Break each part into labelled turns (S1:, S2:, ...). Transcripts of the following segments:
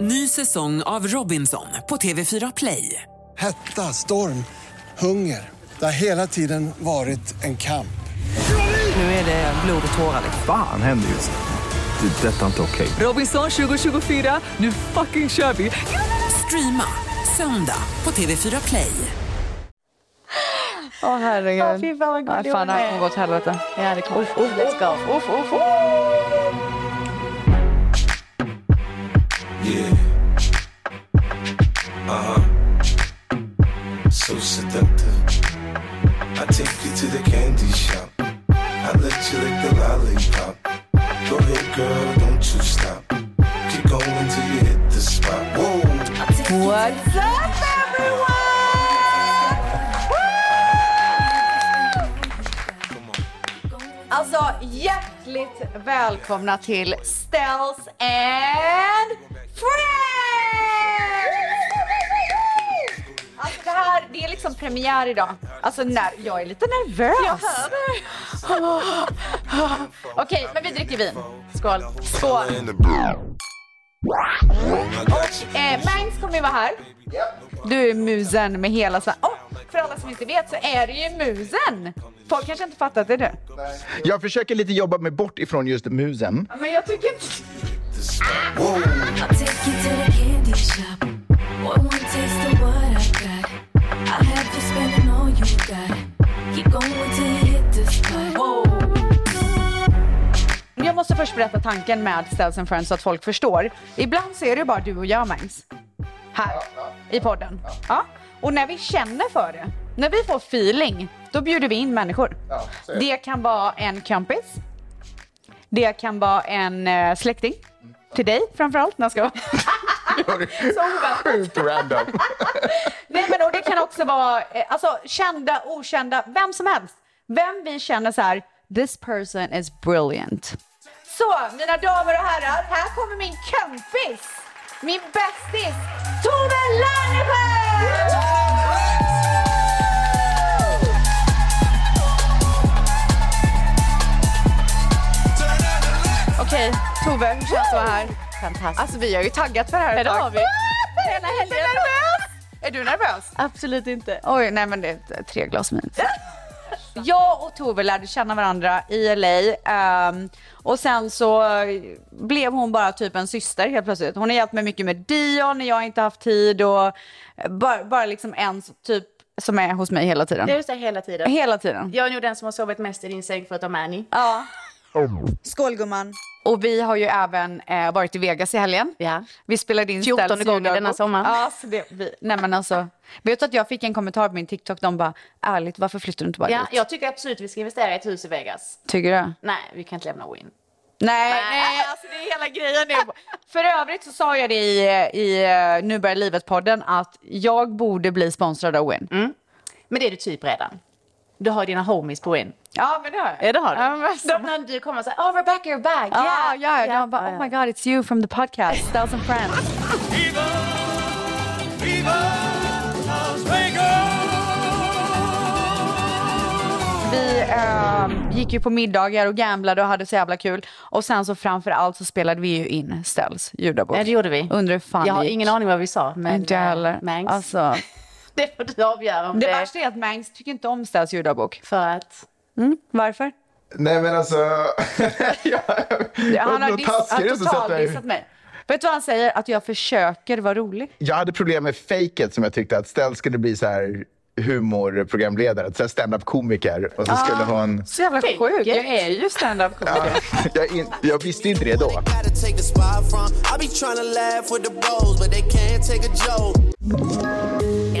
S1: Ny säsong av Robinson på TV4 Play.
S2: Hetta, storm, hunger. Det har hela tiden varit en kamp.
S1: Nu är det blod och tårar.
S3: Fan händer just nu. Det. är Detta är inte okej.
S1: Robinson 2024, nu fucking kör vi! Streama söndag på TV4 Play.
S4: Åh herregud.
S5: Åh, fy fan, vad gullig
S4: Nej, fan,
S5: hon
S4: det här
S5: är.
S4: kommer gå åt helvete.
S5: Ja, det kommer. Let's go.
S4: Uff, uff, uff.
S6: Yeah. Uh-huh. So seductive. I take you to the candy shop. I let you lick the lollipop. Go ahead, girl, don't you stop. Keep going till you hit the spot. Whoa.
S4: What's up everyone?
S5: Alltså, hjärtligt välkomna till Stells and Friends! Alltså det här, det är liksom premiär idag. Alltså när, jag är lite nervös. Jag hör Okej, men vi dricker vin. Skål. Skål.
S6: In the room. I got you.
S5: Eh, Mangs kommer ju vara här. Du är musen med hela Sverige. Oh, för alla som inte vet så är det ju musen. Folk kanske inte fattat det nu.
S7: Jag försöker lite jobba mig bort ifrån just musen.
S5: Men jag tycker inte...
S8: I'll take you to the candy shop. One more taste of what I got. I'll have you spending all you got. Keep going till you hit the spot.
S5: Jag måste först berätta tanken med Stells and Friends så att folk förstår. Ibland så är det ju bara du och jag Mangs. Här i podden. Ja. Och när vi känner för det, när vi får feeling, då bjuder vi in människor. Det kan vara en kompis. Det kan vara en eh, släkting. Till dig framförallt. När jag ska Så oväntat.
S7: Sjukt random.
S5: Nej, men och det kan också vara eh, alltså, kända, okända, vem som helst. Vem vi känner så här, this person is brilliant. Så, mina damer och herrar, här kommer min kompis, min bästis, Tove Lannesjö! Okej, Tove, hur känns det att vara här?
S4: Fantastiskt.
S5: Alltså vi har ju taggat för det här ett
S4: Ja, det
S5: tag.
S4: har vi.
S5: Jag är lite nervös. Är du nervös?
S4: Absolut inte.
S5: Oj, nej men det är ett- tre glas vin. Jag och Tove lärde känna varandra i LA ehm, och sen så blev hon bara typ en syster helt plötsligt. Hon har hjälpt mig mycket med Dion när jag inte haft tid och bara, bara liksom en så- typ som är hos mig hela tiden.
S4: Det är så här hela tiden.
S5: Hela tiden.
S4: Jag är nog den som har sovit mest i din säng förutom Annie.
S5: Ja. Skål gumman. Och vi har ju även eh, varit i Vegas i helgen.
S4: Ja.
S5: Vi spelade in
S4: 14
S5: Ställs
S4: gången
S5: ljuddagbok.
S4: denna sommar.
S5: Ja, så det, vi, nej men alltså, vet du att jag fick en kommentar på min TikTok, de bara ärligt varför flyttar du inte bara
S4: Ja,
S5: dit?
S4: jag tycker absolut vi ska investera i ett hus i Vegas.
S5: Tycker du?
S4: Nej, vi kan inte lämna Win.
S5: Nej,
S4: nej,
S5: alltså det är hela grejen nu. För övrigt så sa jag det i, i eh, Nu börjar livet-podden att jag borde bli sponsrad av Win.
S4: Mm. Men det är du typ redan. Du har dina homies på Win.
S5: Ja men det har jag.
S4: Ja, det har du.
S5: Ja, men
S4: De, när du kommer och säger oh Rebecca you're back.
S5: Ja,
S4: yeah,
S5: ja,
S4: yeah."
S5: de bara,
S4: Ja,
S5: oh my god it's you from the podcast, thousand friends. Vi eh, gick ju på middagar och gamblade och hade så jävla kul. Och sen så framför allt så spelade vi ju in Stells ljuddagbok.
S4: Ja, det gjorde vi.
S5: Undrar hur fan
S4: Jag har
S5: det gick.
S4: ingen aning vad vi sa. Men,
S5: Inte jag heller.
S4: eh, Mangs.
S5: Alltså,
S4: Det får du avgöra om
S5: det
S4: det.
S5: värsta är att Mangs tycker inte om Stells ljuddagbok.
S4: För att...
S5: Varför?
S7: Nej men alltså... jag,
S5: Han har,
S7: Vad
S5: diss,
S7: taskig
S5: han
S7: du
S5: har
S7: är som sätter
S5: totalt
S7: dig-
S5: dissat mig. Vet du vad han säger? Att jag försöker vara rolig.
S7: jag hade problem med fejket som jag tyckte att Stell skulle bli så här humorprogramledare, så här stand-up-komiker. Och så
S8: Ah.
S7: skulle hon...
S5: Så jävla
S4: Tänker.
S5: sjuk. Jag är ju standup komiker.
S7: jag, in... jag visste inte det då.
S9: gotta take the spot from. I be trying to laugh with the bros, but they can't take a joke.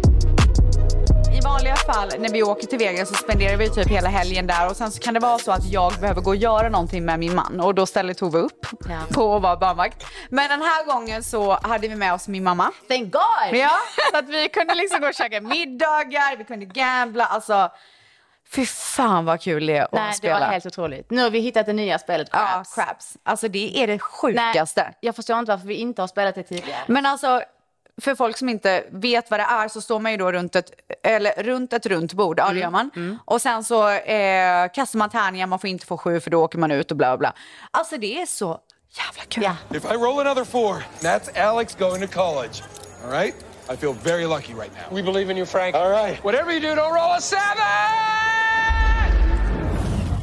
S5: I vanliga fall när vi åker till Vegas så spenderar vi typ hela helgen där och sen så kan det vara så att jag behöver gå och göra någonting med min man och då ställer Tove upp på att vara barnvakt. Men den här gången så hade vi med oss min mamma.
S4: Thank God!
S5: Ja, så att vi kunde liksom gå och käka middagar, vi kunde gambla, alltså fy fan vad kul det är att
S4: Nej, det
S5: spela.
S4: var helt otroligt. Nu har vi hittat det nya spelet
S5: Ja,
S4: Craps.
S5: craps. Alltså det är det sjukaste.
S4: Nej, jag förstår inte varför vi inte har spelat det tidigare.
S5: Men alltså, för folk som inte vet vad det är så står man ju då runt ett, eller runt ett runt bord, ja det gör man. Och sen så eh, kastar man tärningar, man får inte få sju för då åker man ut och bla bla, bla. Alltså det är så jävla kul.
S10: If I roll another four, that's Alex going to college. All right? I feel very lucky right now. We believe in you, Frank. All right. Whatever you do, don't roll a seven!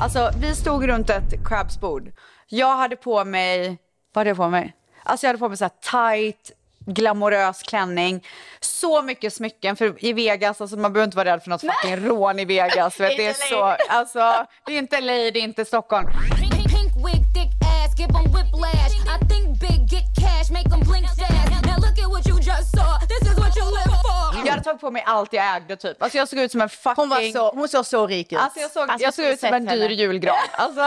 S5: Alltså vi stod runt ett crabbsbord. Jag hade på mig, vad hade jag på mig? Alltså jag hade på mig så här tight, glamorös klänning. Så mycket smycken, för i Vegas, alltså man behöver inte vara rädd för något fucking rån i Vegas. du Vet, det är
S11: Inte
S5: så, alltså det är inte LA, det är inte Stockholm.
S11: Pink, pink wig, thick ass, give 'em whiplash. I think big, get cash, make 'em blink fast. Now look at what you just saw. This is what you live for.
S5: Jag hade tagit på mig allt jag ägde typ. Alltså jag såg ut som en fucking...
S4: Hon, var så, hon såg så rik ut.
S5: Alltså jag såg,
S4: Alltså,
S5: jag såg
S4: skulle
S5: ut som
S4: sett
S5: en dyr
S4: henne.
S5: julgran. Alltså.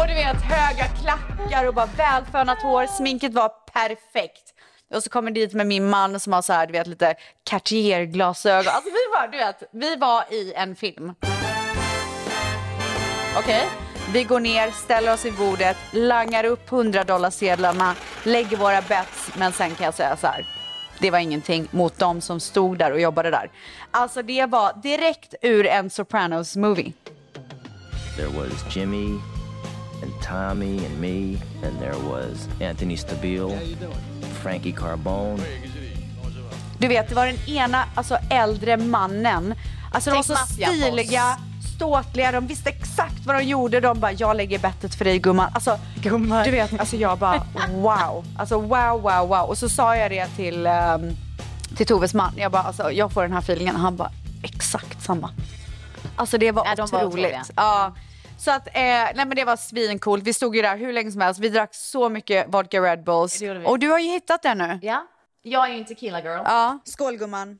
S5: Och du vet höga klackar och bara välfönat hår. Sminket var perfekt. Och så kommer dit med min man som har så här, du vet lite Cartier-glasögon. Alltså vi var, du vet, vi var i en film. Okej? Vi går ner, ställer oss i bordet, langar upp 100 dollarsedlarna, lägger våra bets, men sen kan jag säga så här. Det var ingenting mot dem som stod där och jobbade där. Alltså det var direkt ur en Sopranos movie.
S12: There was Jimmy and Tommy and me, and there was Anthony Stabile, Frankie Carbone.
S5: Du vet, det var den ena alltså, äldre mannen. Alltså, de var
S4: Tänk
S5: så
S4: maffiaboss.
S5: stiliga, ståtliga, de visste exakt vad de gjorde. De bara, jag lägger bettet för dig gumman. Alltså, gumman. Du vet, alltså, jag bara wow. Alltså wow, wow, wow. Och så sa jag det till, ehm, till Toves man. Jag bara, alltså, jag får den här feelingen. Han bara, exakt samma. Alltså det var
S4: var
S5: otroligt.
S4: otroliga.
S5: ja. Så att, eh, nej men det var svincoolt. Vi stod ju där hur länge som helst. Vi drack så mycket vodka Red Bulls.
S4: gjorde vi.
S5: Och du har ju hittat den nu.
S4: Ja. Jag är ju en tequila girl.
S5: Ja. Skål gumman.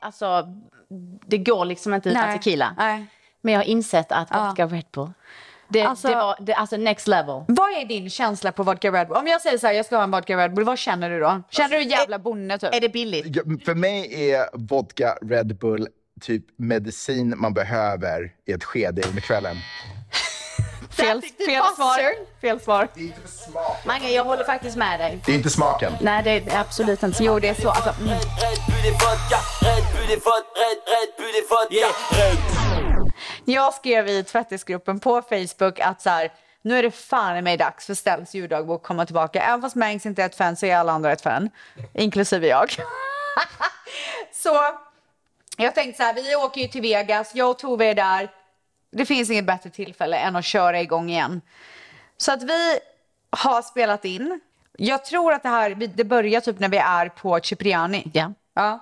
S4: Alltså, det går liksom inte utan
S5: Nej.
S4: tequila.
S5: Nej.
S4: Men jag har insett att vodka Red Bull, det,
S5: Alltså-
S4: det var det, alltså next level.
S5: Vad är din känsla på vodka Red Bull? Om jag säger så här, jag ska ha en vodka Red Bull, vad känner du då? Känner du jävla bonde typ? Är
S4: Alltså, det billigt?
S7: Ja, För mig är vodka Red Bull typ medicin man behöver i ett skede under kvällen.
S5: Fel, fel svar. Fel svar.
S4: Mange, jag håller faktiskt med dig.
S7: Det är inte smaken.
S4: Nej, det är absolut inte Jo, det är så. Alltså, mm.
S5: Jag skrev i tvättisgruppen på Facebook att så här, nu är det fan i mig dags för Stells juldagbok att komma tillbaka. Även fast Mangs inte är ett fan så är alla andra ett fan. Inklusive jag. så jag tänkte så här, vi åker ju till Vegas, jag och Tove är där. Det finns inget bättre tillfälle än att köra igång igen. Så att vi har spelat in. Jag tror att det här, vi- det börjar typ när vi är på Cipriani. Ja.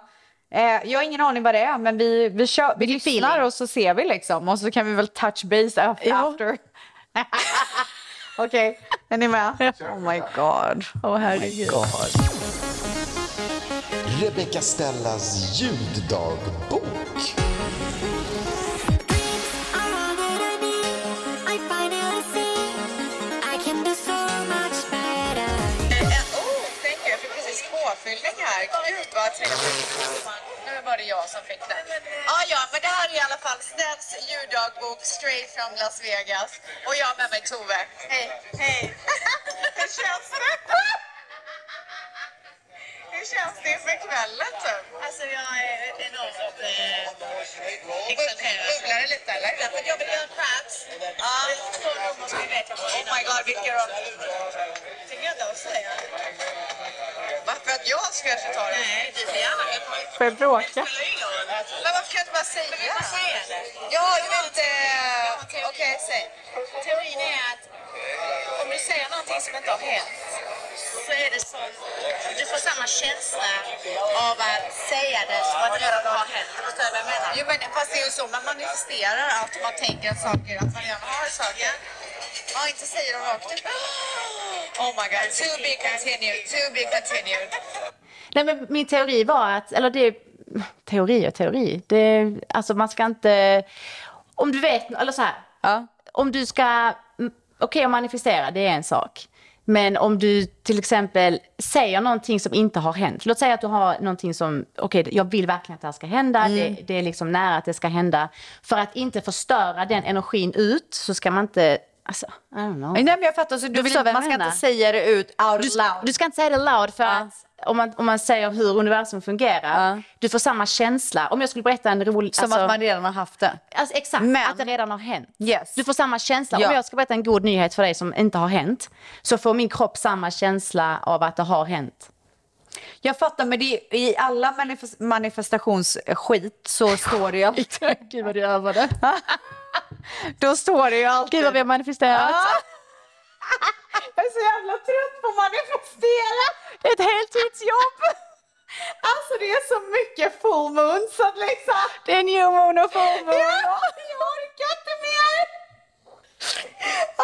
S5: Eh, jag har ingen aning vad det är, men vi, vi, kör, vi lyssnar och så ser vi liksom. Och så kan vi väl touch base af- after. Okej, är ni med? Oh my god. Oh herregud.
S13: Rebecca Stellas ljuddagbok.
S14: Oh, thank you. Jag fick precis påfyllning här. Gud vad trevligt. Nu var det jag som fick den. Ja, ja, men det här är i alla fall Snäts ljuddagbok straight from Las Vegas. Och jag har med mig Tove. Hej. Hej. Hur känns det? Hur känns det inför kvällen typ? Alltså jag är enormt eh, exalterad. Bubblar det lite eller? Därför att jag vill göra craps. Ja. Två rum och så vet jag Oh my god, vilka rum. Tycker jag inte om att säga. Varför att jag ska kanske ta det? Nej, du får gärna.
S5: Får jag bråka?
S14: Men varför kan jag inte bara säga? Ja, du vill inte... Okej, säg.
S15: Teorin är att om du säger någonting som inte har hänt så är det som, du får samma känsla av att säga det som att det redan har hänt. Förstår du vad jag menar?
S14: Jo, men fast det är ju så man manifesterar allt man tänker att saker, att man redan har saker. Ja, inte säger de rakt ut. Oh my god, to be continued, to be continued.
S4: Nej, men min teori var att, eller det, teori och teori, det, alltså man ska inte, om du vet, eller så här, om du ska, mm, okej att manifestera, det är en sak. Men om du till exempel säger någonting som inte har hänt. Låt säga att du har någonting som, okej jag vill verkligen att det här ska hända. Det, det är liksom nära att det ska hända. För att inte förstöra den energin ut så ska man inte, alltså, I don't know.
S5: Nej men jag fattar, så du vill,
S4: förstår vad jag
S5: man ska
S4: menar.
S5: inte säga det ut out
S4: Du-
S5: loud.
S4: Du ska inte säga det loud för att om man, om man säger hur universum fungerar, du får samma känsla. Om jag skulle berätta en rolig...
S5: Som att man redan har haft det.
S4: Alltså, exakt, att det redan har hänt.
S5: Yes.
S4: Du får samma känsla.
S5: Ja.
S4: Om jag ska berätta en god nyhet för dig som inte har hänt, så får min kropp samma känsla av att det har hänt.
S5: Jag fattar, men det är, i alla manifest- manifestationsskit så står det ju alltid...
S4: Gud vad du övar det.
S5: Då står det ju alltid... Gud vad vi har
S4: manifesterat.
S5: Jag är så jävla trött på att manifestera.
S4: Det är ett heltidsjobb.
S5: Alltså det är så mycket full moon så att liksom...
S4: Det är new moon och full moon.
S5: Ja, jag orkar inte mer.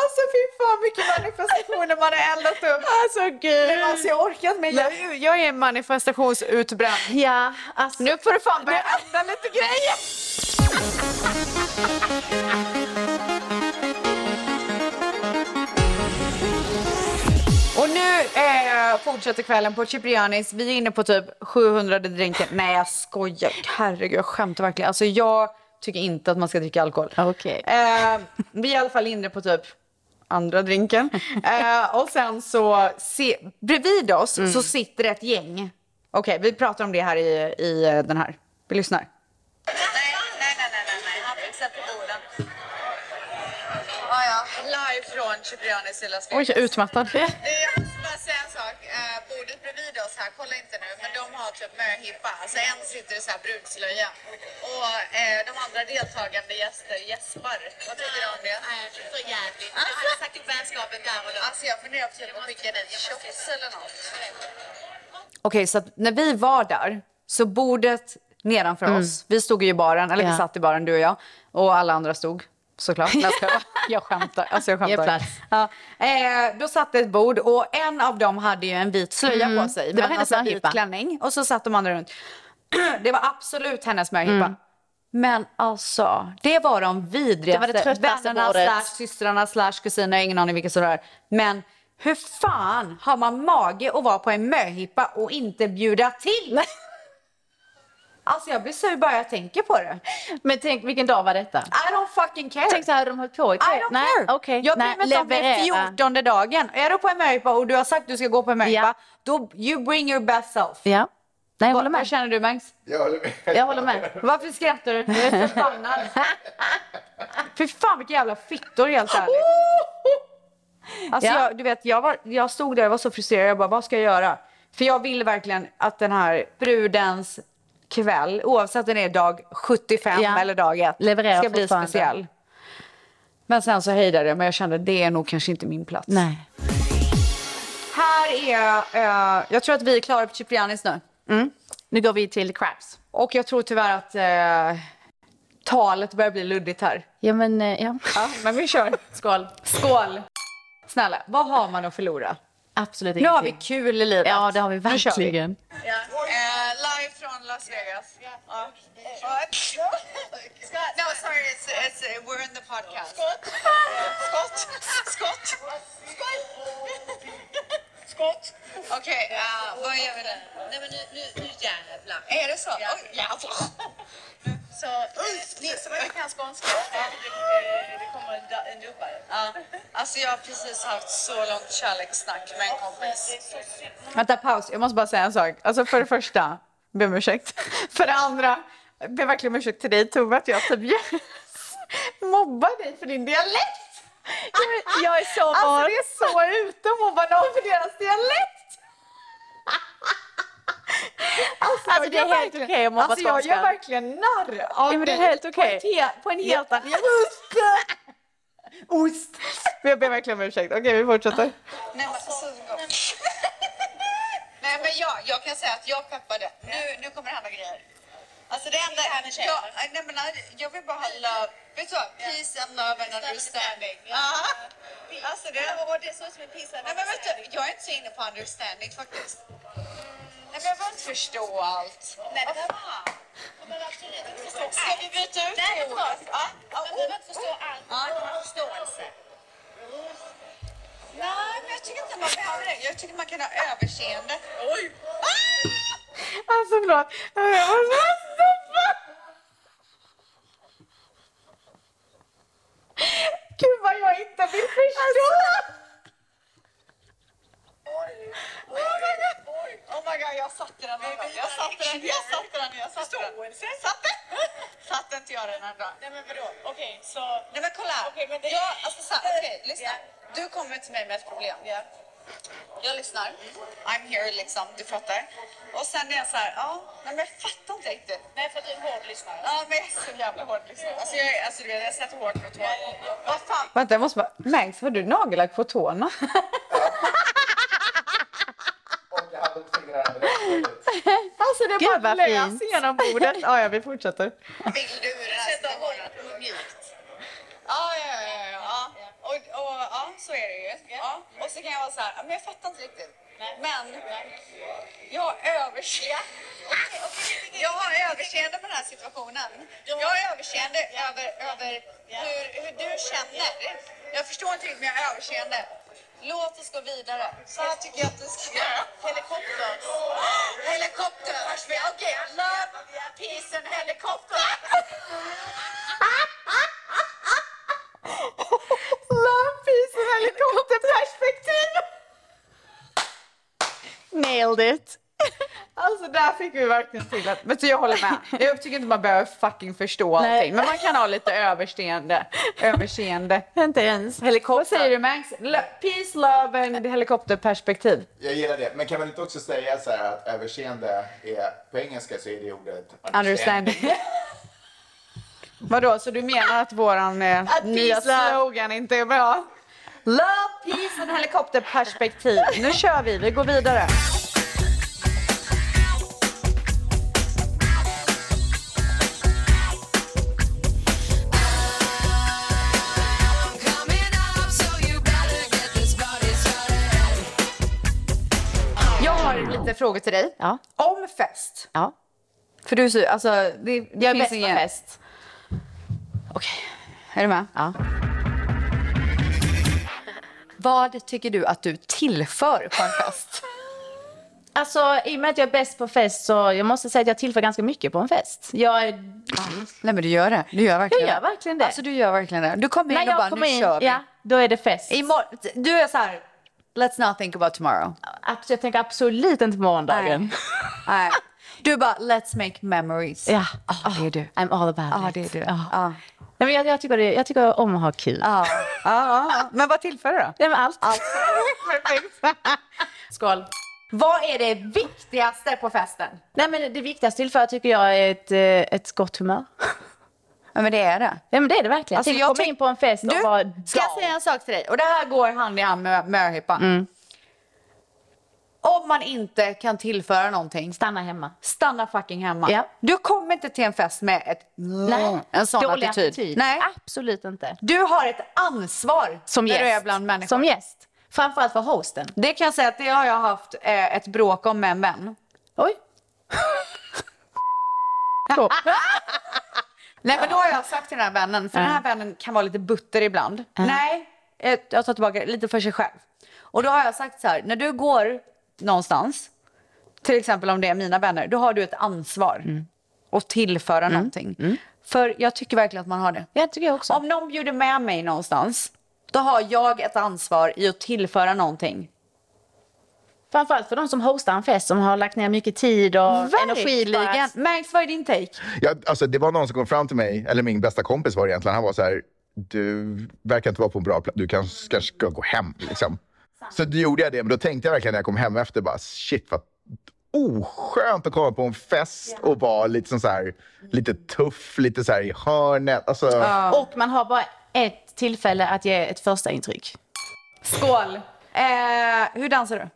S5: Alltså fy fan mycket manifestationer man har eldat upp.
S4: Alltså gud.
S5: Alltså jag orkar inte mer. Jag, jag är en manifestationsutbränd.
S4: Ja, alltså.
S5: Nu får du fan börja elda lite grejer. Och nu eh, fortsätter kvällen på Ciprianis. Vi är inne på typ 700 drinken. Nej, jag skojar. Herregud, jag skämtar verkligen. Alltså, jag tycker inte att man ska dricka alkohol.
S4: Okej.
S5: Eh, vi är i alla fall inne på typ andra drinken. Eh, och sen så, se, bredvid oss så sitter ett gäng. Okej, vi pratar om det här i, i eh, den här. Vi lyssnar.
S16: Nej, nej, nej, nej, nej. Han fick sätta borden. Ja, ja. Live från Ciprianis i Las Vegas.
S5: utmattad.
S16: Eh, Jag måste bara säga en sak. Eh, Bordet bredvid oss här, kolla inte nu, men de har typ möhippa. Alltså en sitter i så här brudslöja. Och eh, de andra deltagande gäster gäspar. Vad tycker du om det? Så jävligt. Alltså, jag hade sagt upp vänskapen där och då. Alltså jag funderar på typ att skicka den tjofs eller något.
S5: Okej, så att när vi var där så bordet nedanför
S4: Mm.
S5: oss, vi stod ju i baren, eller vi
S4: Ja.
S5: satt i baren du och jag och alla andra stod såklart. Nej, jag skojar. jag skämtar, alltså jag
S4: Ge
S5: skämtar.
S4: plats.
S5: Ja. Eh, då satt det ett bord och en av dem hade ju en vit slöja
S4: Mm.
S5: på sig.
S4: Det
S5: men
S4: var hennes
S5: alltså, vit
S4: möhippa.
S5: klänning och så satt de andra runt. det var absolut hennes möhippa.
S4: Mm.
S5: Men alltså, det var de vidrigaste
S4: Det var det tröttaste
S5: vännerna
S4: bordet.
S5: slash systrarna slash kusiner, jag har ingen aning vilka som det är. Men hur fan har man mage att vara på en möhippa och inte bjuda till? alltså jag blir sur bara jag tänker på det.
S4: Men tänk, vilken dag var detta?
S5: I don't fucking care.
S4: Tänk så här, de höll på i
S5: I don't
S4: Nej,
S5: care.
S4: okej.
S5: Jag
S4: Nej,
S5: bryr mig inte om det är 14
S4: leverera.
S5: dagen. Är du på en möhippa och du har sagt att du ska gå på en möhippa, då you bring your best self.
S4: Ja. Nej,
S5: Vad-
S4: jag håller med.
S5: Vad känner du Mangs?
S17: Jag håller med.
S4: Jag håller med.
S5: Varför skrattar du? Jag är förbannad. Fy fan vilka jävla fittor helt ärligt. Alltså,
S4: Ja.
S5: jag, du vet, jag, var, jag stod där jag var så frustrerad. Jag bara, vad ska jag göra? För jag vill verkligen att den här brudens kväll, oavsett om den är dag 75
S4: Ja.
S5: eller dag 1,
S4: Levererar
S5: ska bli
S4: fortfarande.
S5: speciell. Men sen så hejdade det, men jag kände det är nog kanske inte min plats.
S4: Nej.
S5: Här är, eh, jag tror att vi är klara på Ciprianis nu.
S4: Mm. Nu går vi till Crabs.
S5: Och jag tror tyvärr att eh, talet börjar bli luddigt här.
S4: Ja, men eh, ja.
S5: Ja, men vi kör. Skål. Skål. Snälla, vad har man att förlora?
S4: Absolut
S5: Nu har vi
S4: ingenting.
S5: kul i livet.
S4: Ja, det har vi
S5: Nu kör vi.
S4: verkligen.
S16: Ja. Eh, live från Las Vegas. Ja. What? No, sorry, it's, it's, uh, we're in the podcast. Skott! Skott! Skott! Skott! Skott! Okej, eh, vad gör vi nu? Nej, men nu, nu, nu jävlar. Är det så? Oj, jävlar! Så, eh, ni som inte kan skånska, eh, det kommer en, da- en dubbare. Ja. Alltså, jag har precis haft så långt kärlekssnack med en kompis.
S5: Vänta, paus. Jag måste bara säga en sak. Alltså för det första, be om ursäkt. För det andra, be verkligen om ursäkt till dig Tove att jag typ mobbar dig för din dialekt. Jag, jag är så Alltså
S4: van.
S5: det är så ute att mobba någon för deras dialekt. Alltså,
S4: Alltså,
S5: jag
S4: det är
S5: gör
S4: helt
S5: verkligen-
S4: okej att mobba
S5: Alltså jag gör
S4: skånskar.
S5: verkligen narr av
S4: Ja, men det är
S5: dig
S4: helt okej.
S5: På, en he- på en helt annan... Jag Ost! Men jag ber verkligen om ursäkt. Okej, vi fortsätter.
S16: Nej men, alltså, så, Nej, men jag, jag kan säga att jag peppade. Nu, nu kommer det hända grejer. Alltså det enda... Jag, nej, men, jag vill bara ha love. Vet du vad? Peace and love and understanding. Ja. Alltså det... Och det såg ut som en peace and Nej men vet du, jag är inte så inne på understanding faktiskt.
S4: Jag behöver inte förstå allt. Mm. Nej, det behöver man. Man behöver absolut inte förstå allt. Ska vi byta ut det ordet? Ja. Man behöver inte förstå allt, man behöver förståelse. Nej, men jag tycker inte man behöver det. Jag tycker man kan ha överseende. Ah! Oj!
S17: Alltså förlåt. Jag var så stoppad. Gud vad jag inte vill förstå.
S4: Oh my god! Oh my god, jag satte den en gång. Jag satte den, jag satte den, jag satte den. Satte? Satte inte jag den en dag? Nej men vadå? Okej, så... Nej men kolla! Okej, men det... Jag, alltså så här, okej, lyssna. Du kommer till mig med ett problem. Jag lyssnar. I'm here liksom, du fattar. Och sen är jag så här, ja, nej men jag fattar inte riktigt. Nej, för att du är hård lyssnare. Ja, men jag är så jävla hård lyssnare. Alltså jag, är- alltså du vet, jag sätter hårt mot hårt. Vad fan?
S17: Vänta jag måste bara. Mangs har du nagellack på tårna?
S5: Alltså det
S17: Gud,
S5: bara
S17: vad
S5: lös
S17: fint.
S5: genom bordet. Ja, ja, vi fortsätter.
S4: Vill du sätta håret mjukt? Ja, ja, ja, ja, ja. ja. Och, och, ja, så är det ju. Ja. Och så kan jag vara så här, men jag fattar inte riktigt. Men jag har överseende. Jag har överseende med den här situationen. Jag har överseende över, över hur, hur du känner. Jag förstår inte riktigt, men jag har överseende. Låt oss gå vidare. Så här tycker jag att vi ska göra. Helikopter. Helikopter. hörs vi? Okej, love, peace and helikopter.
S17: Love, peace and helikopterperspektiv. Nailed it. Alltså där fick vi verkligen till att, men så jag håller med. Jag tycker inte man behöver fucking förstå
S5: Nej.
S17: allting. Men man kan ha lite överseende. Överseende.
S5: Inte ens.
S17: Helikopter. Vad säger du Mangs? Lo- Peace, love and helikopterperspektiv.
S7: Jag gillar det. Men kan man inte också säga så här att överseende är, på engelska så är det ordet
S17: Understanding. Vadå, så du menar att våran eh,
S5: Att
S17: nya
S5: peace, love-
S17: slogan inte är bra? Love, peace and helikopterperspektiv. Nu kör vi, vi går vidare. Jag har lite frågor till dig. Om fest.
S18: Ja.
S17: För du är så- alltså, det, det
S18: Jag är
S17: finns
S18: bäst på
S17: ingen... fest. Okej, är du med?
S18: Ja.
S5: Vad tycker du att du tillför på en fest?
S18: Alltså, i och med att jag är bäst på fest så jag måste säga att jag tillför ganska mycket på en fest. Jag är...
S5: Nej men du gör det. Du gör verkligen
S18: Jag gör verkligen det.
S5: Alltså du gör verkligen det. Du kommer in
S18: När
S5: och
S18: jag
S5: bara,
S18: kommer
S5: nu
S18: in,
S5: kör vi.
S18: ja, då är det fest.
S5: Imor- du är så här, let's not think about tomorrow.
S18: Abs- Jag tänker absolut inte på morgondagen.
S5: Nej. Du bara, let's make memories.
S18: Ja, Ah.
S5: oh, det är du.
S18: I'm all about
S5: Ja,
S18: it.
S5: det är du. Ah.
S18: Ja.
S5: Ja.
S18: Nej, men jag, jag, tycker det, jag tycker om att ha kul.
S5: Ja. Ja, ja. Ah, Men vad tillför du då?
S18: Nej, men allt.
S5: allt. Perfekt.
S18: Skål.
S5: Vad är det viktigaste på festen?
S18: Nej, men det viktigaste tillför tycker jag är ett, eh, ett gott humör.
S5: Ja, men det är det.
S18: Ja, men det är det verkligen.
S5: Alltså,
S18: Tänk
S5: jag
S18: att komma
S5: tänk-
S18: in på en fest och vara
S5: Ska jag säga en sak till dig? Och det här går hand i hand med möhippan.
S18: Mm.
S5: Om man inte kan tillföra någonting.
S18: Stanna hemma.
S5: Stanna fucking hemma.
S18: Ja.
S5: Du kommer inte till en fest med ett
S18: Nej,
S5: Mm, en sån
S18: dålig
S5: attityd.
S18: attityd.
S5: Nej.
S18: Absolut inte.
S5: Du har ett ansvar
S18: Som
S5: när
S18: gäst.
S5: du är bland människor.
S18: Som gäst. Framförallt för hosten.
S5: Det kan jag säga att det har jag haft eh, ett bråk om med en vän.
S18: Oj.
S5: Nej men då har jag sagt till den här vännen, för den här vännen kan vara lite butter ibland. Nej, eh, jag tar tillbaka det, lite för sig själv. Och då har jag sagt så här, när du går någonstans, till exempel om det är mina vänner, då har du ett ansvar
S18: Mm.
S5: att tillföra någonting. För jag tycker verkligen att man har det.
S18: Jag Mm. tycker jag också.
S5: Om någon bjuder med mig någonstans, då har jag ett ansvar i att tillföra någonting.
S18: Framförallt för de som hostar en fest som har lagt ner mycket tid och energi. på
S5: Verkligen.
S18: att-
S5: Max, vad är din take?
S7: Ja, alltså, det var någon som kom fram till mig, eller min bästa kompis var det egentligen. Han var så här, du verkar inte vara på en bra plats, du kanske kanske ska gå hem. Liksom. Så då gjorde jag det, men då tänkte jag verkligen när jag kom hem efter, bara, shit vad oskönt att komma på en fest och vara lite, som så här, lite tuff, lite så här i hörnet. Alltså,
S18: Och man har bara ett tillfälle att ge ett första intryck.
S5: Skål! Eh, hur dansar du?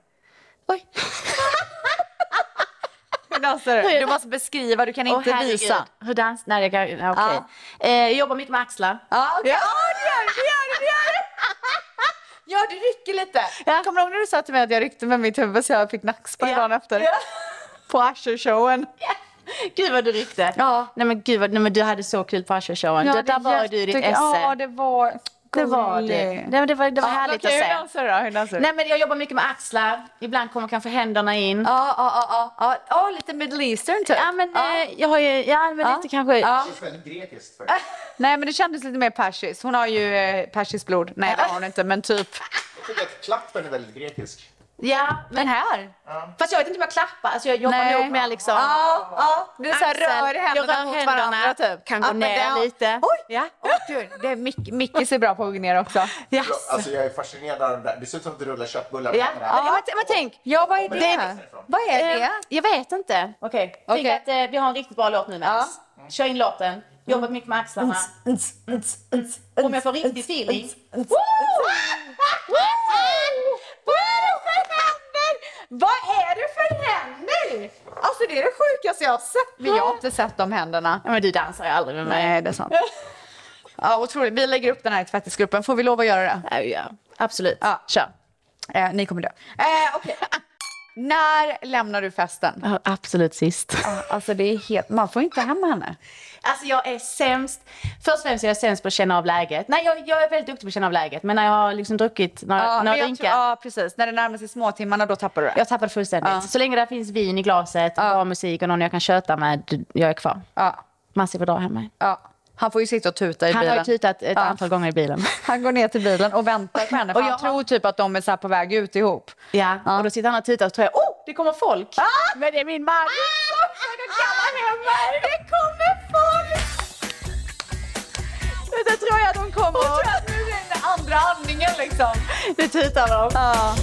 S18: Oj.
S5: hur dansar du? Du måste beskriva, du kan inte
S18: herregud.
S5: visa.
S18: Hur dans... Nej, jag kan... ja, Okej. Eh, jag jobbar mycket med axlar.
S5: Ja, okay. det gör du, det gör du, det gör du! Ja, du rycker lite.
S18: Ja.
S5: Kommer du ihåg när du sa till mig att jag ryckte med mitt huvud så jag fick nackspärr dagen efter? på Usher-showen.
S4: Gud vad du ryckte. Ja. Nej men gud vad, nej, men du hade så kul på Usher-showen.
S5: Ja, det
S4: Ja, där
S5: är
S4: var du i ditt
S5: jätte-
S4: esse.
S5: Ja, det var...
S4: Det var det. Nej, men det var, det var
S5: Ja,
S4: härligt
S5: okej,
S4: att se.
S5: Hur dansar du då? Hur dansar du?
S4: Nej, men jag jobbar mycket med axlar. Ibland kommer kanske händerna in.
S19: Ja, ja, ja. ja. Ja, lite Middle Eastern typ.
S4: Ja, men, eh, Jag har ju, ja, men
S5: Ja.
S4: lite kanske.
S5: Ja.
S4: Det
S7: väldigt grekiskt
S5: Nej, men det kändes lite mer persiskt. Hon har ju eh, persiskt blod. Nej, det har hon inte, men typ.
S7: Jag tycker att klappen är väldigt grekisk.
S4: Ja,
S5: men här.
S4: Fast jag vet inte om jag klappar. Alltså jag jobbar
S5: Nej.
S4: nog mer liksom.
S5: Ja, ja. Det är så här,
S4: Axel,
S5: rör händerna
S4: jag rör
S5: mot
S4: händerna,
S5: varandra, typ.
S4: Kan gå
S5: Ja, men
S4: ner
S5: det-
S4: lite.
S5: Oj! Ja. Åh, gud, det är Mick, Micke ser bra på att gå ner också. Yes.
S20: Alltså jag är fascinerad av den där. Det ser ut som att du rullar köttbullar.
S4: Ja.
S20: framför
S5: Ja,
S20: här.
S5: men, t- men tänk, ja, vad är det?
S20: Men-
S5: Vad är
S4: Eh,
S5: det?
S4: Jag vet inte. Okej. Tänk
S5: Okej.
S4: att eh, vi har en riktigt bra låt nu, Max. Kör in låten. Jobbat mycket med axlarna. Om jag får riktig feeling.
S5: Woo! Woo! Vad är det för händer? Vad är det för händer? Alltså det är det sjukaste jag har sett. Men jag har inte sett de händerna.
S4: Ja, men du dansar ju aldrig med mig.
S5: Nej, det är sant. Ja, otroligt. Vi lägger upp den här i tvättisgruppen. Får vi lov att göra det? Ja,
S4: absolut.
S5: Ja. Kör. Eh, ni kommer dö. Eh, Okej. När lämnar du festen?
S4: Ja, Absolut sist.
S5: Alltså det är helt... Man får inte hem henne.
S4: Alltså jag är sämst. Först och främst är jag sämst på att känna av läget. Nej, jag, jag är väldigt duktig på att känna av läget. Men när jag har liksom druckit några,
S5: Ja, men
S4: några
S5: jag
S4: drinkar.
S5: tror- ja, precis. När det närmar sig småtimmarna, då tappar du det.
S4: Jag tappade fullständigt. Så länge det finns vin i glaset, bra musik och någon jag kan köta med, jag är kvar.
S5: Ja.
S4: Massi får dra hem mig.
S5: Ja. Han får ju sitta och tuta i
S4: Han
S5: bilen.
S4: har ju tutat ett
S5: Ja.
S4: antal gånger i bilen.
S5: Han går ner till bilen och väntar på henne. För
S4: Och
S5: han
S4: jag-
S5: tror typ att de är så här på väg ut ihop. Ah!
S4: Ja, och då sitter han och tutar och tror jag, oh, det kommer folk. Men det är min man.
S5: Det kommer folk! Då tror jag att de kommer. Hon tror att nu är den andra andningen liksom.
S4: Det tutar de.
S5: Ja.